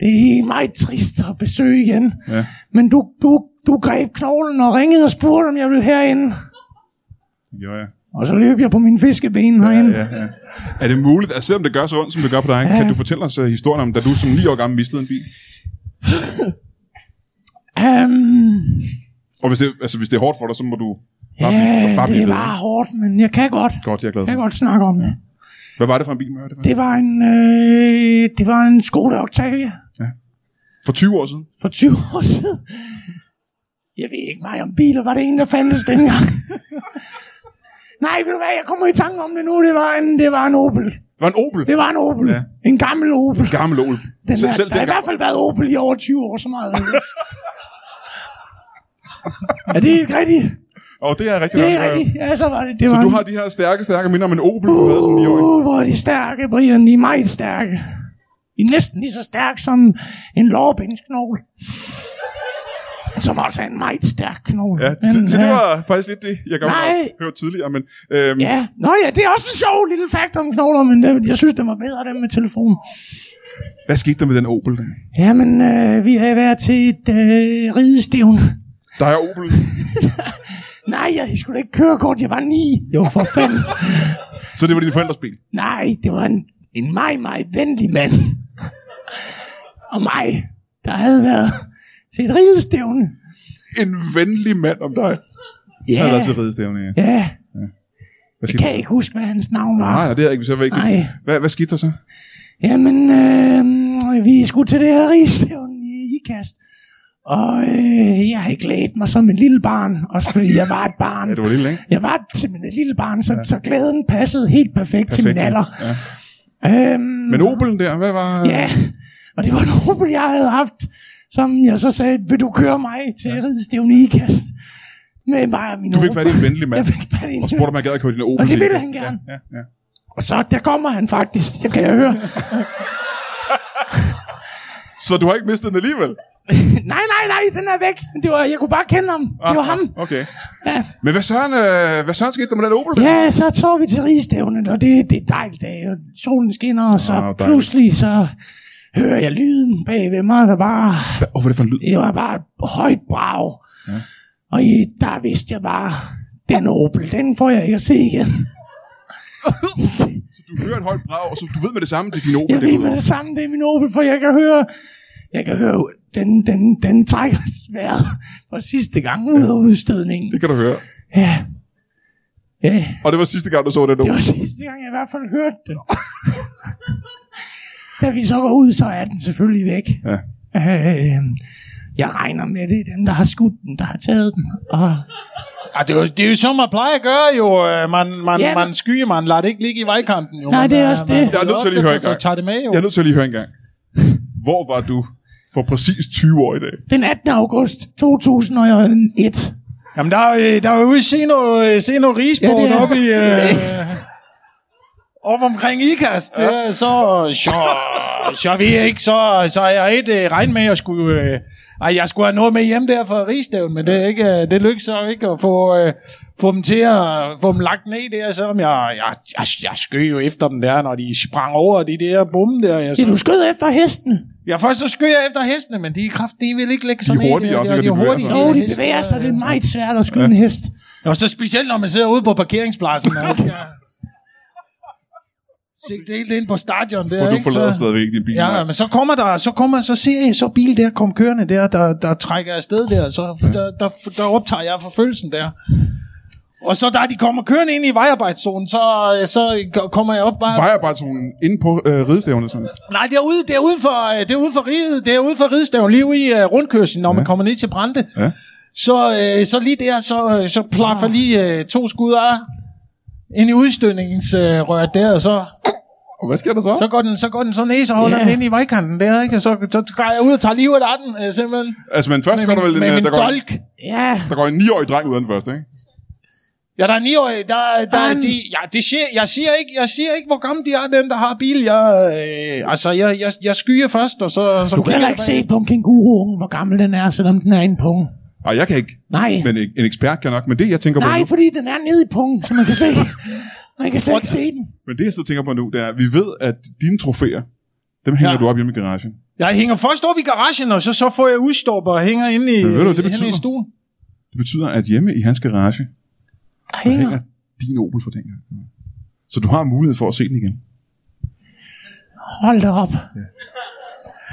det er meget trist at besøge igen.
Ja.
Men du, du, du greb knoglen og ringede og spurgte, om jeg ville herinde.
Jo, ja.
Og så løb jeg på min fiskeben herinde.
Ja, ja. Er det muligt, at selvom det gør så ondt, som det gør på dig, ja. kan du fortælle os uh, historien om, da du som 9 år gammel mistede en bil?
Um,
Og hvis det, altså, hvis det er hårdt for dig, så må du bare blive,
ja,
bare blive
det
ved.
var hårdt, men jeg kan godt.
Godt, jeg er glad
Jeg kan
for.
godt snakke om det.
Hvad var det for en bil, Mørre? Det var?
Det var en, øh, det var en Skoda Octavia
For 20 år siden?
for 20 år siden. Jeg ved ikke meget om biler, var det en, der fandtes dengang? Nej, ved du hvad, jeg kommer i tanke om det nu, det var en, det var en Opel.
Det var en Opel.
Det var en Opel.
Ja.
Ja. En gammel Opel.
Gammel Opel.
Den
Selv,
er,
selv
der har i
dengang,
hvert fald været Opel i over 20 år, så meget. ved
(laughs)
jeg. er det ikke rigtigt?
Og det er rigtigt.
Det er
nok, ja.
rigtigt. Ja, så var det. det
Så
var
du
en-
har de her stærke, stærke minder om en Opel, du havde som 9 år.
Uh, hvor er de stærke, Brian. De er meget stærke. De er næsten lige så stærke som en lårbindsknogle. Som også er en meget stærk knogle.
Ja, så,
Men,
så, det
øh,
var faktisk lidt det, jeg godt
Nej.
har hørt tidligere, men øhm,
Ja, Nå ja, det er også en sjov lille fakt om knogler, men det, jeg synes, det var bedre, dem med telefon.
Hvad skete der med den Opel?
Jamen, øh, vi havde været til et øh, ridestævn.
Der er Opel.
Nej, jeg skulle da ikke køre kort, jeg var ni. Jo, for fanden. (laughs)
Så det var dine forældres bil.
Nej, det var en, en meget, meget venlig
(laughs)
mand. Og mig, der havde været til et ridestævne.
En venlig mand om dig. Ja. Han har været til ridestævne, ja.
ja.
Hvad
Jeg
skete der
kan
så? Ah,
ikke huske, hvad hans navn var.
Nej, nej, det er ikke så vigtigt.
Nej.
Hvad, hvad skete der så?
Jamen, øh, vi skulle til det her rigstævn i IKAST. Og øh, jeg havde glædet mig som et lille barn, også fordi jeg var et
(laughs)
barn.
Ja, det var lille, ikke?
Jeg var simpelthen et lille barn, så, ja. så glæden passede helt perfekt, perfekt til min
Perfekt,
alder.
Ja.
Ja. Øhm,
Men Opelen der, hvad var...
ja, og det var en Opel, jeg havde haft, som jeg så sagde, vil du køre mig til ja. ridestævn i IKAST? Med mig og min
Du fik fat i en venlig mand.
Jeg fik fat i en
Og spurgte, om han gad at køre din Opel.
Og det
til
ville
Ikast.
han gerne.
Ja, ja, ja.
Og så, der kommer han faktisk, det kan jeg høre.
Så du har ikke mistet den alligevel?
nej, nej, nej, den er væk. Men Det var, jeg kunne bare kende ham. Det var
Ah,
ham.
ah, Okay.
Ja.
Men hvad søren, øh, hvad søren skete der med den Opel? der?
Ja, så tog vi til rigstævnet, og det, det er dejligt dag, og solen skinner, og så
Ah, dejligt.
pludselig så hører jeg lyden bag ved mig, der bare,
Hvad- Åh, hvad er det for en lyd?
det var bare et højt brag. Ja. Og i, der vidste jeg bare, den Opel, den får jeg ikke at se igen.
Altså, Du hører et højt brag, og så du ved med det samme, det er din Opel.
Jeg
det
ved
går
med
ud.
det samme, det er min Opel, for jeg kan høre, jeg kan høre, den, den, den trækker sværet for sidste gang ud af
det
udstødningen.
kan du høre.
Ja. Ja,
Og det var sidste gang, du så den
Det
Opel.
var sidste gang, jeg i hvert fald hørte
(laughs)
den. da vi så går ud, så er den selvfølgelig væk.
Ja.
Øh, jeg regner med, det er dem, der har skudt den, der har taget den. Og
Ah, det, er jo, det er jo som man plejer at gøre jo. Øh, Man, man,
Ja,
ja,
men-
man skyer, man lader det ikke ligge i vejkanten. Jo.
Nej,
Man
det er også det.
man-
Jeg er nødt til at lige høre en
Så
gang.
tager det med jo.
Jeg er nødt til at lige høre en gang. Hvor var du for præcis 20 år i dag?
den 18. august 2001.
Jamen, der er, øh, der er jo ude i Seno, øh, Seno
Ja,
Rigsborg
det
ja,
er-
oppe i...
(laughs)
Øh, op omkring Ikast, ja. så, så, så vi ikke, så, så jeg ikke øh, regnet med, at jeg skulle, øh, ej, jeg skulle have noget med hjem der fra Rigsdagen, men det, er ikke, øh, det lykkedes så ikke at få, øh, få dem til at få dem lagt ned der, selvom jeg, jeg, jeg, jeg skød jo efter dem der, når de sprang over de der bomme der. Jeg,
Det du skød efter hesten.
Ja, først så skød jeg efter hestene, men de er kraft, de vil ikke lægge sig
er
ned.
hurtige også,
de,
ikke?
de,
Og de
er
bevæger sig.
hurtige.
Jo, de bevæger sig, det er meget svært at skyde en hest.
Og så specielt, når man sidder ude på parkeringspladsen. og ikke kan sigte helt ind på stadion der,
For du
ikke?
forlader
så...
stadigvæk din bil.
Ja, men så kommer der, så kommer, så ser jeg så bil der, kom kørende der, der, der trækker afsted der, så der, der, der optager jeg forfølgelsen der. Og så da de kommer kørende ind i vejarbejdszonen, så, så kommer jeg op bare...
Vejarbejdszonen inde på øh, ridestævnet. Sådan.
Nej, det er ude, det er ude for, øh, det er ude for riget, det er ude for ridestaven, lige ude i uh, rundkørslen, når ja. man kommer ned til Brande.
Ja.
Så, øh, så lige der, så, øh, så plaffer lige øh, to skud af ind i udstødningsrøret øh, røret der, og så,
Og hvad sker der så?
så, går den, så går den så ned, så holder
Ja.
yeah. den ind i vejkanten der, ikke? Og så, så går jeg ud og tager livet af den, øh, simpelthen.
Altså, men først
Med
går der vel
min,
en,
med
øh,
min
der, går,
dolk.
Ja,
der går en 9-årig dreng uden først, ikke?
Ja, der er ni år, der, der
Ej.
er de, ja, det siger, jeg, siger ikke, jeg siger ikke, hvor gammel de er, dem der har bil. Jeg, øh, altså, jeg, jeg, jeg skyer først, og så... så
du kan heller ikke se på en kænguruunge, hvor gammel den er, selvom den er i en pung.
Ej, jeg kan ikke.
Nej,
Men en- en ekspert kan nok. Men det, jeg tænker på
nej,
nu,
fordi den er nede i pungen, så man kan slet ikke, man kan slet ikke se den.
men det, jeg så tænker på nu, det er, at vi ved, at dine trofæer, dem hænger
Ja.
du op hjemme i garagen.
Jeg hænger først op i garagen, og så, så får jeg udstopper og hænger inde i,
Men ved du, det
inde i
betyder-
stuen.
Det betyder, at hjemme i hans garage,
Der
der
hænger
hænger din Opel for dengang. Så du har mulighed for at se den igen.
Hold da op.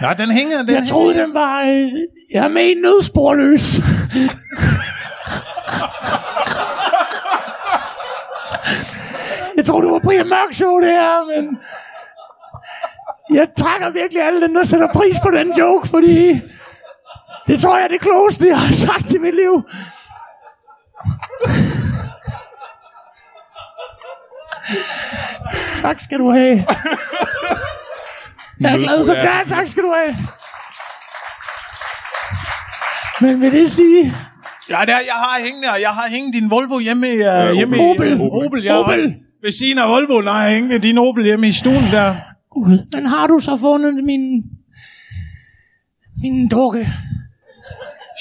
Ja, den hænger. Den
Jeg troede, den var... Øh, jeg med en nødsporløs. jeg troede, det var Brian Mørk Show, det her, men... Jeg trækker virkelig alle dem, der sætter pris på den joke, fordi... Det tror jeg er det klogeste, jeg har sagt i mit liv. tak skal du have. Jeg er glad for
Ja.
Ja, tak skal du have. Men vil det sige...
Ja, der, jeg har hængende, og jeg har hængt din Volvo hjemme, i,
Opel.
øh, hjemme
Opel.
i... Opel. Opel, jeg
Opel.
Opel. Også, ved siden af Volvo, der har jeg hængende din Opel hjemme i stuen der.
Gud, men har du så fundet min... Min dukke?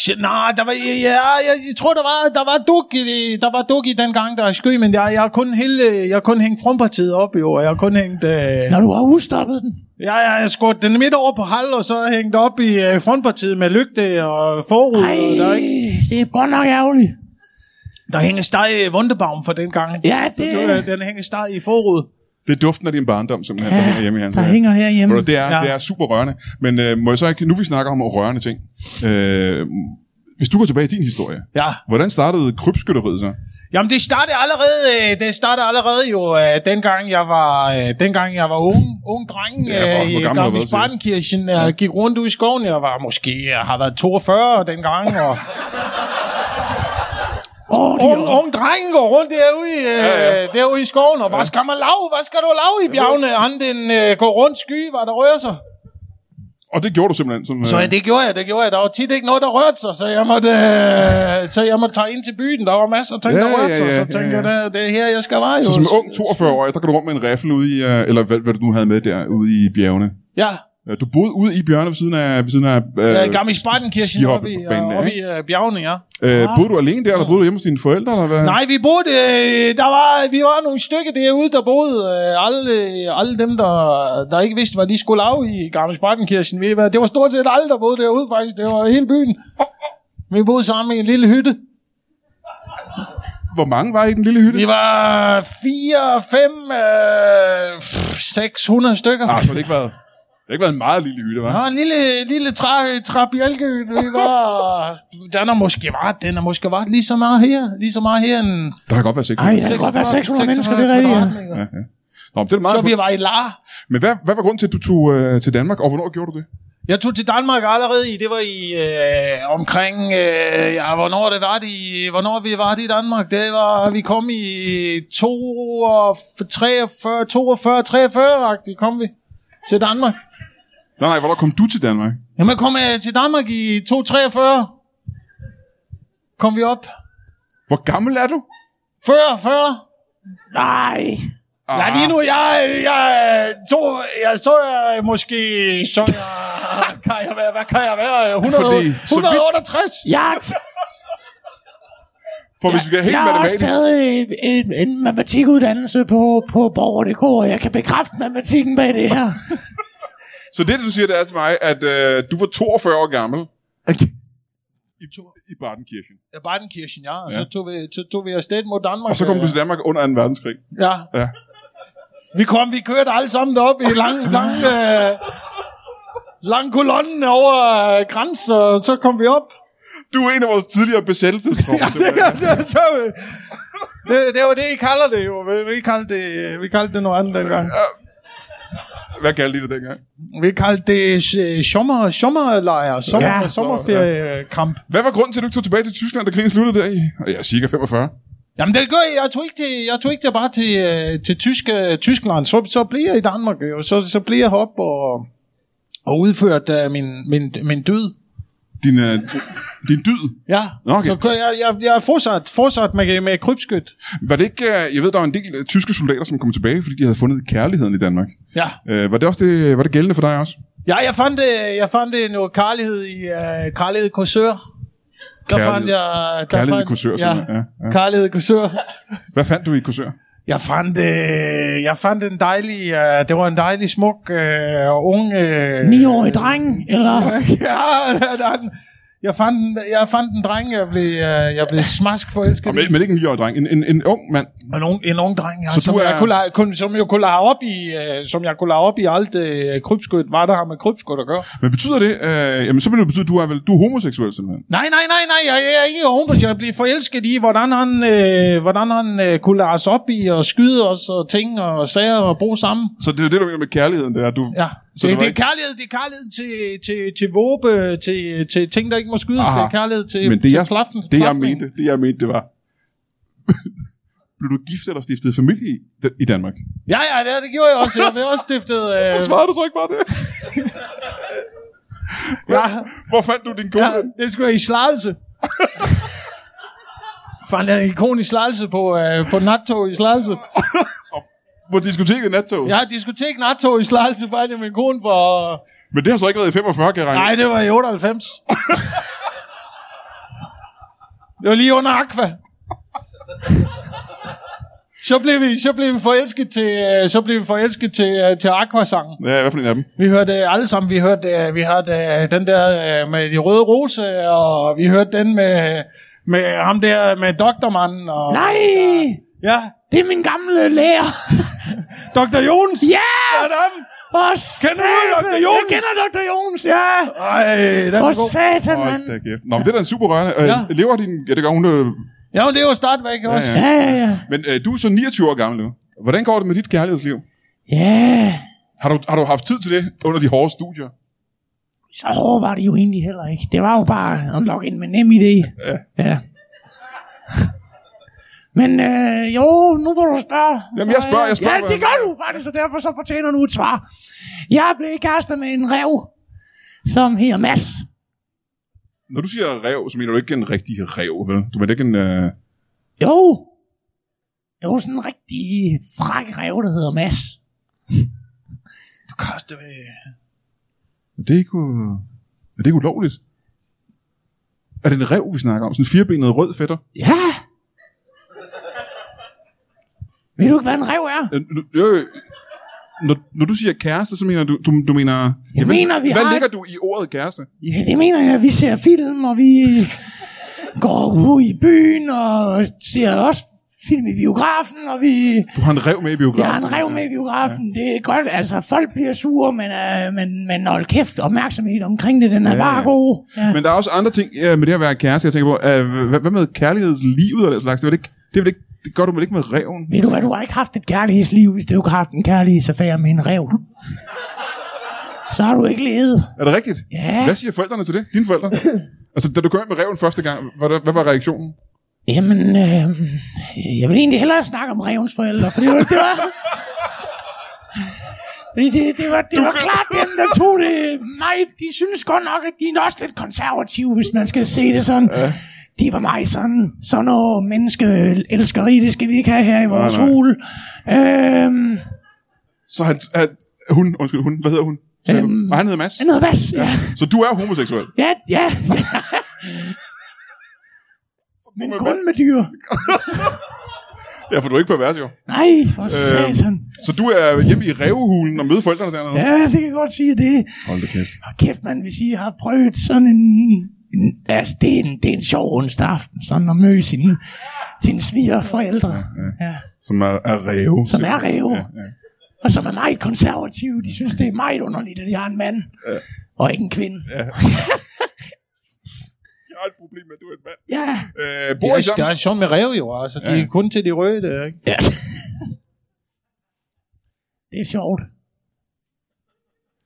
Shit, nej, der var, ja, jeg, jeg, jeg tror, der var, der var duk, i- der var duk i den gang, der er sky, men jeg, jeg har kun, hele, jeg har kun hængt frontpartiet op, jo, og jeg har kun hængt... Øh,
Når du har udstoppet den.
Ja, ja, jeg skudte den midt over på hal, og så hængt op i øh, frontpartiet med lygte og forud.
Ej,
og der, er ikke,
det er godt nok ærgerligt.
der hænger steg i Wunderbaum for den gang.
Ja, det,
Det var, den hænger steg i forud.
Det er duften af din barndom, simpelthen, ja, der hænger hjemme i hans
der
have.
hænger herhjemme.
Ved du, det, er, ja.
Ja.
det er super rørende. Men øh, må jeg så ikke, nu vi snakker om rørende ting. Øh, hvis du går tilbage i din historie.
Ja.
Hvordan startede krybskytteriet så?
Jamen, det startede allerede, øh, det startede allerede jo, øh, dengang jeg var, øh, dengang jeg var ung, ung dreng
Ja, hvor-
ja,
hvor
øh, i
gammel har du været, siger
Gamle
du?
Spartenkirchen. Jeg gik rundt ud i skoven, jeg var måske, jeg har været 42 dengang, og
Åh, det er
ung, ung dreng går rundt derude, øh,
Ja,
ja,
ja.
ja. derude i skoven, og hvad skal man lave, hvad skal du lave i bjergene, andet end øh, gå rundt sky, hvad der rører sig.
Og det gjorde du simpelthen. Som,
Så
øh,
ja, det gjorde jeg, det gjorde jeg. Der var tit ikke noget, der rørte sig, så jeg måtte, øh, så jeg måtte tage ind til byen. Der var masser af ting,
Ja,
ja, der rørte
ja,
ja, sig,
ja,
så
ja,
tænkte
ja.
jeg, det, det er her, jeg skal være.
så
jo.
som ung 42-årig, der går du rundt med en riffel ude i, øh, eller hvad, hvad du nu havde med der, ude i bjergene.
Ja,
Øh, Du boede ude i bjørne ved siden af... Ved siden af øh,
jeg er i gammel Spartenkirchen oppe i,
skihoppebanen der,
oppe
ikke?
i øh, bjergene, ja.
Øh, boede du alene der, eller boede du hjemme hos dine forældre? Eller hvad?
Nej, vi boede, øh, der var, vi var nogle stykker derude, der boede. Øh, alle, øh, alle dem, der, der ikke vidste, hvad de skulle lave i Gammel Spartenkirchen. ved I hvad? Det var stort set alle, der boede derude faktisk. Det var hele byen. Vi boede sammen i en lille hytte.
Hvor mange var I i den lille hytte?
Vi var 4, 5, øh, 600 stykker.
Ah, så har det ikke været... Det har ikke været en meget lille hytte, var?
Der var en lille, lille træ, træbjælke, vi var, den er måske var, den er måske var lige så meget her, lige så meget her end
Der har godt været 600.
Ej, der kan godt være 600 mennesker, det er rigtigt. ja.
Ja, ja. Nå, men det er meget
Så vi var i lar.
Men hvad, hvad var grunden til, at du tog øh, til Danmark, og hvornår gjorde du det?
Jeg tog til Danmark allerede i, det var i øh, omkring, øh, ja, hvornår det var det, i- hvornår vi var det i Danmark, det var, vi kom i 42, 43, 42, 43-agtigt kom vi til Danmark.
Nej, nej, hvornår kom du til Danmark?
Jamen, jeg kom øh, til Danmark i 243. Kom vi op.
Hvor gammel er du?
40, 40.
Nej.
Ah,
Nej, lige nu, jeg, jeg, to, jeg så jeg måske, så jeg, (laughs) kan jeg være, hvad kan jeg være, 100,
Fordi, så vidt-
168?
Jeg,
For hvis vi skal helt
jeg har også
matematisk...
taget en, en, en matematikuddannelse på, på Borger.dk, og jeg kan bekræfte matematikken bag det her.
Så det, du siger, det er til mig, at øh, du var 42 år gammel.
Okay.
I, i Badenkirchen.
Ja, Badenkirchen, ja, og
Ja.
så tog vi, så tog vi afsted mod Danmark.
Og så kom
øh,
du til Danmark under 2. verdenskrig.
Ja.
Ja.
Vi kom, vi kørte alle sammen derop i lang, lang, øh, lang kolonnen over øh, grænsen, og så kom vi op.
Du er en af vores tidligere besættelsestropper.
det,
simpelthen.
det, så, det, det var det, I kalder det jo. Vi kaldte det, vi kaldte det noget andet dengang.
Hvad kaldte I det dengang?
Vi kaldte det øh, sommer, sommerlejr, sommer,
Ja.
ja, sommerferiekamp.
Hvad var grunden til, at du ikke tog tilbage til Tyskland, da krigen sluttede der i? Ja, cirka 45.
Jamen det gør jeg. Jeg tog ikke til, jeg tog ikke til bare til, øh, til tysk, øh, Tyskland. Så, så blev jeg i Danmark, jo. Så, så blev jeg op og, og udført øh, min, min, min død.
Din, øh, din dyd.
Ja,
Nå, okay.
så gør jeg, jeg, jeg er fortsat, fortsat med, med krybskyt.
Var det ikke... øh, Jeg ved, der var en del øh, tyske soldater, som kom tilbage, fordi de havde fundet kærligheden i Danmark.
Ja.
Øh, var det også det, var det gældende for dig også?
ja jeg fandt, øh, jeg fandt øh, noget kærlighed i øh, kærlighed i Korsør. Der
Kærlighed.
fandt jeg... Der
Kærlighed i
fandt,
Korsør,
ja,
simpelthen. Ja, ja.
Kærlighed i Korsør.
Hvad fandt du i Korsør?
Jeg fandt, øh, jeg fandt en dejlig, øh, det var en dejlig smuk øh, og ung... Øh,
9-årig dreng, eller...
(laughs) ja, der er den. Jeg fandt, en, jeg fandt en dreng, jeg blev, øh, jeg blev smask forelsket.
Men, men ikke en 9-årig dreng, en, en, en ung mand.
En ung, en ung dreng, ja,
Så
som,
du er-
jeg kunne, lege- kun, som jeg kunne lade op i, øh, som jeg kunne lade op i alt øh, krybskyt. Hvad der har med krybskyt at gøre?
Men betyder det, øh, jamen så vil det betyde, at du er, vel, du er homoseksuel simpelthen.
Nej, nej, nej, nej, jeg, jeg er ikke homo. Jeg blev forelsket i, hvordan han, øh, hvordan han øh, kunne lade os op i og skyde os og ting og sager og bruge sammen.
Så det er jo det, du mener med kærligheden, det er, at du...
Ja,
Så
så
det
det,
var
det, er
ikke-
kærlighed, det er kærlighed til, til, til våbe, til, til ting, der ikke må skydes.
Aha.
Det er kærlighed til,
men det,
til
jeg,
plaften.
det jeg
plaften.
mente, det jeg mente, det var... (laughs) Blev du gift eller stiftede familie i, i Danmark?
Ja, ja, det, det gjorde jeg også. Jeg blev også stiftet...
(laughs)
Øh,
Så svarede du så ikke bare det? (laughs)
ja,
Hvor fandt du din kone?
ja, det skulle jeg i
(laughs)
Slagelse. Fandt jeg en ikonisk Slagelse på, øh, på nattog i Slagelse.
På diskoteket i nattoget?
Jeg har diskotek nattog i Slagelse, fandt jeg min kone for...
Men det har så ikke været i 45, kan jeg regne.
Nej, det var i 98. Det var lige under Aqua. Så blev vi, så blev vi forelsket til, øh, så blev vi forelsket til, øh, til Aqua-sangen.
Ja, i hvert fald en af dem.
Vi hørte øh, alle sammen, vi hørte, øh, vi hørte øh, den der øh, med de røde rose, og vi hørte den med, med ham der med doktormanden. Og,
Nej!
Ja,
Det er min gamle lærer.
Dr. Jones.
Ja!
Madame.
For
Kender du
satan.
Dr. Jones?
Jeg kender Dr. Jones, ja.
Ej, den
For
er god.
satan,
Hold
mand.
da kæft. Nå, men det er da en super rørende. Øh,
Ja.
Lever din... Ja, det gør hun. Øh,
Ja, men det er jo stadigvæk også.
ja.
Ja, ja, ja.
men øh, du er så 29 år gammel nu. Hvordan går det med dit kærlighedsliv?
Ja,
Har du, har du haft tid til det under de hårde studier?
så hårdt var det jo egentlig heller ikke. Det var jo bare at logge ind med nem idé. Ja. ja. Men øh, jo, nu må du spørge.
Jamen,
Så,
jeg spørger,
øh,
jeg spørger,
Ja,
hvad-
det gør du faktisk, så derfor så fortjener du et svar. Jeg blev kærester med en rev, som her Mads.
Når du siger rev, så mener du ikke en rigtig rev, vel? Du mener ikke en... Øh...
Jo. Jo, sådan en rigtig fræk rev, der hedder Mads.
Du kaster ved.
Det er ikke... Øh... Er det ikke ulovligt? Er det en rev, vi snakker om? Sådan en firbenet rød fætter?
Ja. Ved du ikke, hvad en rev er?
Øh, nu- jo, jo. Når, når du siger kæreste, så mener du, du, du mener... Jeg
mener, vi
Hvad
har-
ligger du i ordet kæreste?
Ja, det mener jeg. Vi ser film, og vi går ud i byen, og ser også film i biografen, og vi
Du har en rev med i biografen.
jeg har en rev med i biografen. Ja. Det er godt, altså folk bliver sure, men, øh, men, men hold kæft, opmærksomhed omkring det, den er ja, bare
ja.
god. Ja.
Men der er også andre ting øh, med det at være kæreste, jeg tænker på. Øh, hvad, hvad med kærlighedslivet og den slags? Det, er vel ikke, det, er vel ikke, det gør du vel ikke med reven?
Ved du hvad, du har ikke haft et kærlighedsliv, hvis du ikke har haft en kærlighedsaffære med en rev. Så har du ikke levet.
Er det rigtigt?
Ja.
Hvad siger forældrene til det? Dine
(coughs)
forældre? altså, da du kørte med reven første gang, hvad, hvad var reaktionen?
Jamen, øh, jeg vil egentlig hellere snakke om revens forældre, for det var... Det var fordi det, det, var, det var klart dem, der tog det. Nej, de synes godt nok, at de er også lidt konservative, hvis man skal se det sådan. Ja. De var mig sådan, sådan noget menneskeelskeri, det skal vi ikke have her i vores
nej.
hul. Øhm,
Så han, han, hun, undskyld, hun, hvad hedder hun? Sagde du?
Øhm.
Og han hedder Mads.
noget vas, ja.
Så du er homoseksuel?
Ja,
(laughs)
ja. ja. Men
Med
kun
Mads.
med dyr.
Ja, for du er ikke pervers, jo.
Nej, for
Øhm.
satan.
Så du er hjemme i revehulen og møder forældrene dernede?
Ja, det kan jeg godt sige det.
Hold da kæft.
Og kæft, man, hvis I har prøvet sådan en... en altså, det er en, det er en sjov onsdag aften, sådan at møde sine, sine svigerforældre, ja, ja.
Som er, er ræve.
som er ræve, ja,
ja.
ja. og som er meget konservative. De synes, det er meget underligt, at jeg har en mand, ja. og ikke en kvinde. Ja,
Jeg har et problem med, at du er en mand.
ja.
Øh,
Det
bor I
er, det
sammen?
er sjovt med rev jo, altså. Det er
Ja.
kun til de røde, der, ikke?
ja. (laughs) det er sjovt.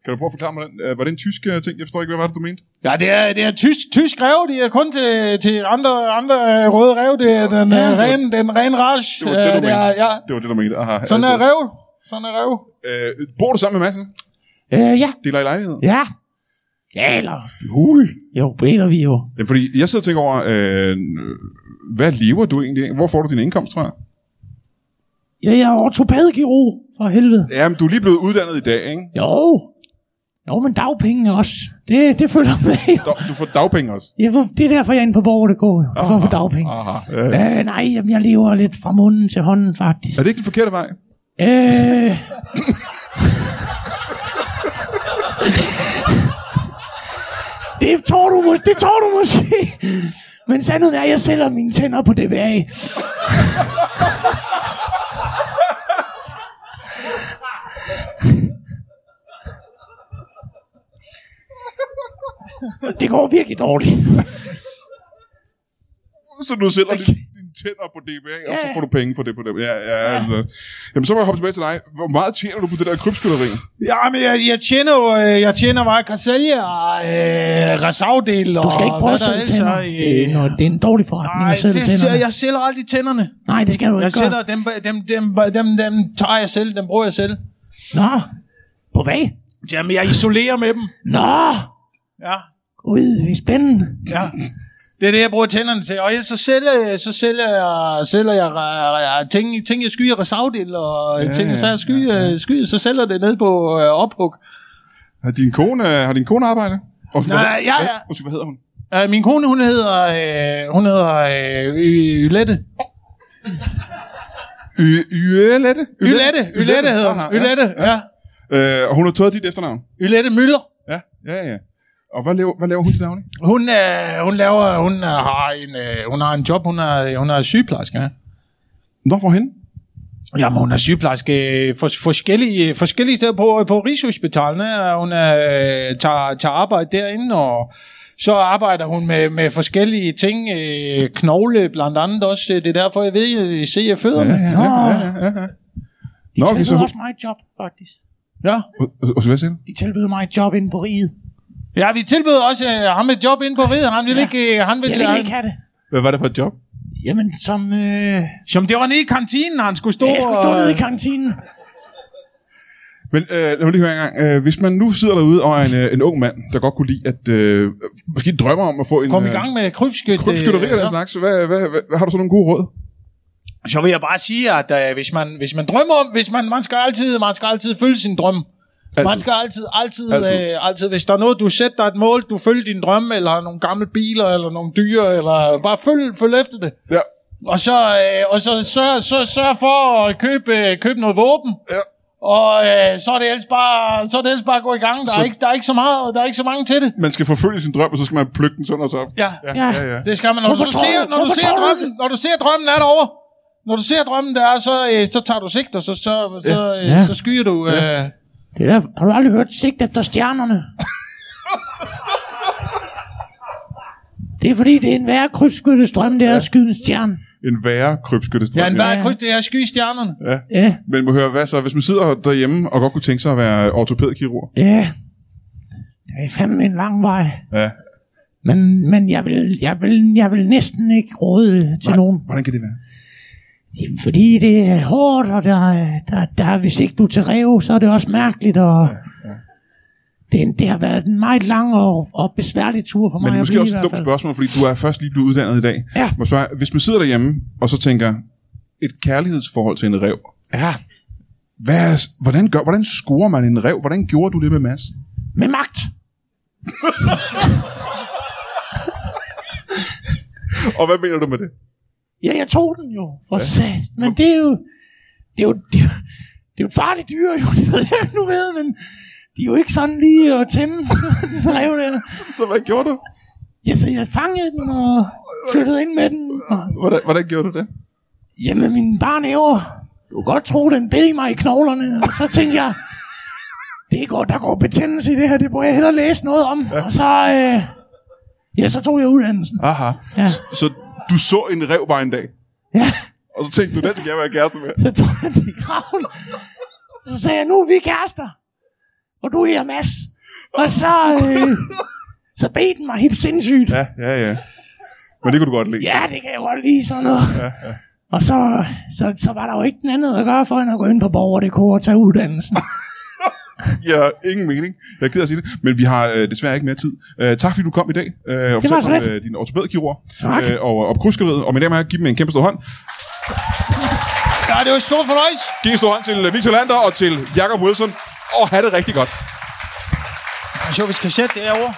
Kan du prøve at forklare mig den? Øh, var det en tysk øh, ting? Jeg forstår ikke, hvad var det, du mente?
Ja, det er, det er tysk, tysk rev, det er kun til, til andre, andre øh, røde rev, det er den,
Ja.
ja, rene, den rene race.
Det var det, du
er,
mente.
ja.
Det var det, du mente. Aha,
Sådan er
altså,
rev. Sådan er rev.
Øh, bor du sammen med Madsen?
Øh, ja,
Deler I lejlighed?
ja. Ja, eller hul. Jo, beder vi jo.
Ja, fordi jeg sidder og tænker over, øh, hvad lever du egentlig af? Hvor får du din indkomst fra?
Ja, jeg er ortopædkirurg, for helvede.
Jamen, du er lige blevet uddannet i dag, ikke?
Jo. Jo, men dagpenge også. Det, det følger med.
Du,
jo.
du får dagpenge også.
Ja, hvor- det er derfor, jeg er inde på borger.dk. jo. For at få dagpenge.
Aha. Øh,
Øh, nej, jamen, jeg lever lidt fra munden til hånden, faktisk.
er det ikke den forkerte vej?
Øh... (laughs) Det tror, du, mås- det tror du måske. Men sandheden er, at jeg sælger mine tænder på DBA. Det går virkelig dårligt.
Så du sælger din, dine tænder på DBA, og så
Ja.
får du penge for det på det. Ja, ja, ja. Jamen, så må jeg hoppe tilbage til dig. Hvor meget tjener du på det der krybskytteri?
Ja, men jeg, jeg tjener jo, øh, jeg tjener bare kasselje og øh, rasavdel og
Du skal ikke prøve
hvad
at sælge
der ellers
tænder.
er i-
Det er, noget, det er en dårlig forretning
Nej,
at sælge
det,
tænder.
jeg, jeg sælger aldrig tænderne.
Nej, det skal du
Jeg
ikke
sælger
gøre.
dem, dem, dem, dem, dem tager jeg selv, dem bruger jeg selv.
Nå, på hvad?
Jamen, jeg isolerer med dem.
Nå,
Ja,
Gud, det er spændende.
ja. Det er det, jeg bruger tænderne til. Og ellers så sælger, så sælger jeg, sælger jeg, jeg, jeg ting, ting, jeg skyer resavdel, og ja, ting,
ja,
jeg så skyer, ja, ja. skyer, så sælger det ned på øh, ophug.
Har din kone, har din kone arbejde? Og,
Nej,
hvad,
jeg
hvad,
er-
undskyld, hvad hedder hun?
Øh, min kone, hun hedder, øh, hun hedder øh, Y- Ylette.
Y- Ylette?
Ylette, Ylette hedder
Aha,
hun.
ja.
Ylette, ja.
Øh, og hun har taget dit efternavn?
Ylette Møller.
Ja, ja, ja. Og hvad laver, hvad laver hun til daglig?
Hun, øh, hun laver, hun øh, har en, øh, hun har en job, hun er, hun er sygeplejerske. Ja.
Nå, for hende?
Jamen, hun er sygeplejerske øh, for, forskellige, forskellige steder på, på Rigshospitalene. og Hun er, øh, tager, tager arbejde derinde, og så arbejder hun med, med forskellige ting. Øh, knogle blandt andet også. Øh, Det er derfor, jeg ved, at I ser fødderne. Ja,
Nå,
Nå,
de
okay, så
tilbød
hun...
også mig et job, faktisk.
ja.
Og- og- Hvad siger du?
De tilbød mig et job inde på riget.
ja vi tilbød også øh, ham et job inde på Rid. Han ville ja. ikke... øh, Han
Jeg
ville,
ville
han,
ikke have det.
Hvad var det for et job?
Jamen, som... Øh,
Som det var nede i kantinen, han skulle stå...
jeg skulle stå
og- øh,
nede i karantinen.
Men øh, lad mig lige høre en gang. Øh, hvis man nu sidder derude og er en, øh, en ung mand, der godt kunne lide at... Øh, måske drømmer om at få en... øh,
Kom i gang med krybskytte.
Krybskytteri
altså.
og den slags. Hvad, hvad, hvad, hvad, har du så nogle gode råd?
Så vil jeg bare sige, at øh, hvis, man, hvis man drømmer om, hvis man, man, skal altid, man skal altid følge sin drøm.
Altså,
Altid. Man skal altid, altid,
Altid.
altid. Øh, altid, hvis der er noget, du sætter dig et mål, du følger din drøm, eller nogle gamle biler, eller nogle dyr, eller bare følg, følg efter det.
Ja,
Og så, øh, og så sørg, så, sørg for at købe, øh, købe noget våben.
Ja.
Og øh, så er det ellers bare, så er det ellers bare at gå i gang. Der,
Så-
er ikke, der, er ikke så meget, der er ikke så mange til det.
man skal forfølge sin drøm, og så skal man plukke den sådan og så op.
Ja.
ja, ja. ja.
Det skal man. Når
Hvorfor
du, så
tror
ser,
du-
når, du
hvorfor
ser
tror du
drømmen, når du ser drømmen er derovre, når du ser drømmen der er, så, øh, så tager du sigt, og så, så, så, ja.
Ja.
så skyer du. Ja. Øh,
Det der, har du aldrig hørt sigt efter
(laughs)
stjernerne? det er fordi, det er en værre krybskyttes drøm, det er at skyde en stjerne.
En værre krybskyttestrøm.
ja, en
Ja.
hver kryds, det er sky i stjernerne.
ja.
Ja,
Men må høre, hvad så, hvis man sidder derhjemme og godt kunne tænke sig at være ortopædkirurg?
ja. Det er fandme en lang vej.
Ja.
Men, men jeg, vil, jeg, vil, jeg vil næsten ikke råde til Nej. nogen.
Hvordan kan det være?
Jamen, fordi det er hårdt, og der, er- der, der, hvis ikke du er til rev, så er det også mærkeligt. Og ja, Det, er en- det har været en meget lang og, og besværlig tur for mig.
Men det er
at
måske
blive
også
i
et
hvert
dumt
fald.
spørgsmål, fordi du er først lige blevet uddannet i dag.
Ja.
Må jeg spørge, hvis man sidder derhjemme, og så tænker, et kærlighedsforhold til en rev.
Ja.
Hvad, er- hvordan, gør, hvordan scorer man en rev? Hvordan gjorde du det med Mads?
Med magt.
Og hvad mener du med det?
Ja, jeg tog den jo, for ja. sat. Men det er jo... Det er jo, det er jo, det er jo et farligt dyr, jo. (laughs) Det ved jeg nu ved, men... De er jo ikke sådan lige at tænde (laughs) den rev der.
Så hvad gjorde du?
Ja, så jeg fangede den og flyttede ind med den. Og,
Hvordan, hvordan gjorde du det?
jamen, mine barnæver, du kan godt tro, den bed i mig i knoglerne. Og så tænkte jeg, det går, der går betændelse i det her, det må jeg hellere læse noget om. Ja. Og så, øh, ja, så tog jeg uddannelsen.
Aha.
Ja.
Så, så du så en rev bare en dag,
Ja.
og så tænkte du, den skal jeg være kæreste med.
Så tog han den i kraven. Så sagde jeg, nu er vi kærester. Og du er Mads. Og så, øh, så bed den mig helt sindssygt. Ja.
Ja, ja, ja. Men det kunne du godt lide.
ja, det kan jeg godt lide sådan noget. Ja, ja. Og så, så, så var der jo ikke den andet at gøre for, end at gå ind på borger.dk og tage uddannelsen.
Ja, ingen mening. Jeg gider at sige det. Men vi har øh, desværre ikke mere tid. Øh, tak fordi du kom i dag. Øh, og
Det var så
fortalte om
lidt.
øh, din ortopædkirurg.
Tak.
Øh, og om krydskeriet. Og med dem her, giv dem en kæmpe stor hånd.
Ja, det er jo en stor fornøjelse.
Giv en stor hånd til øh, Victor Lander og til Jakob Wilson. Og have det rigtig godt.
Jeg tror, vi skal sætte det herovre.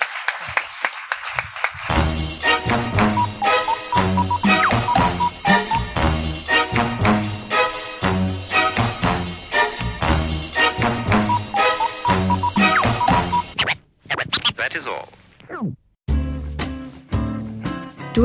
That is all.
Du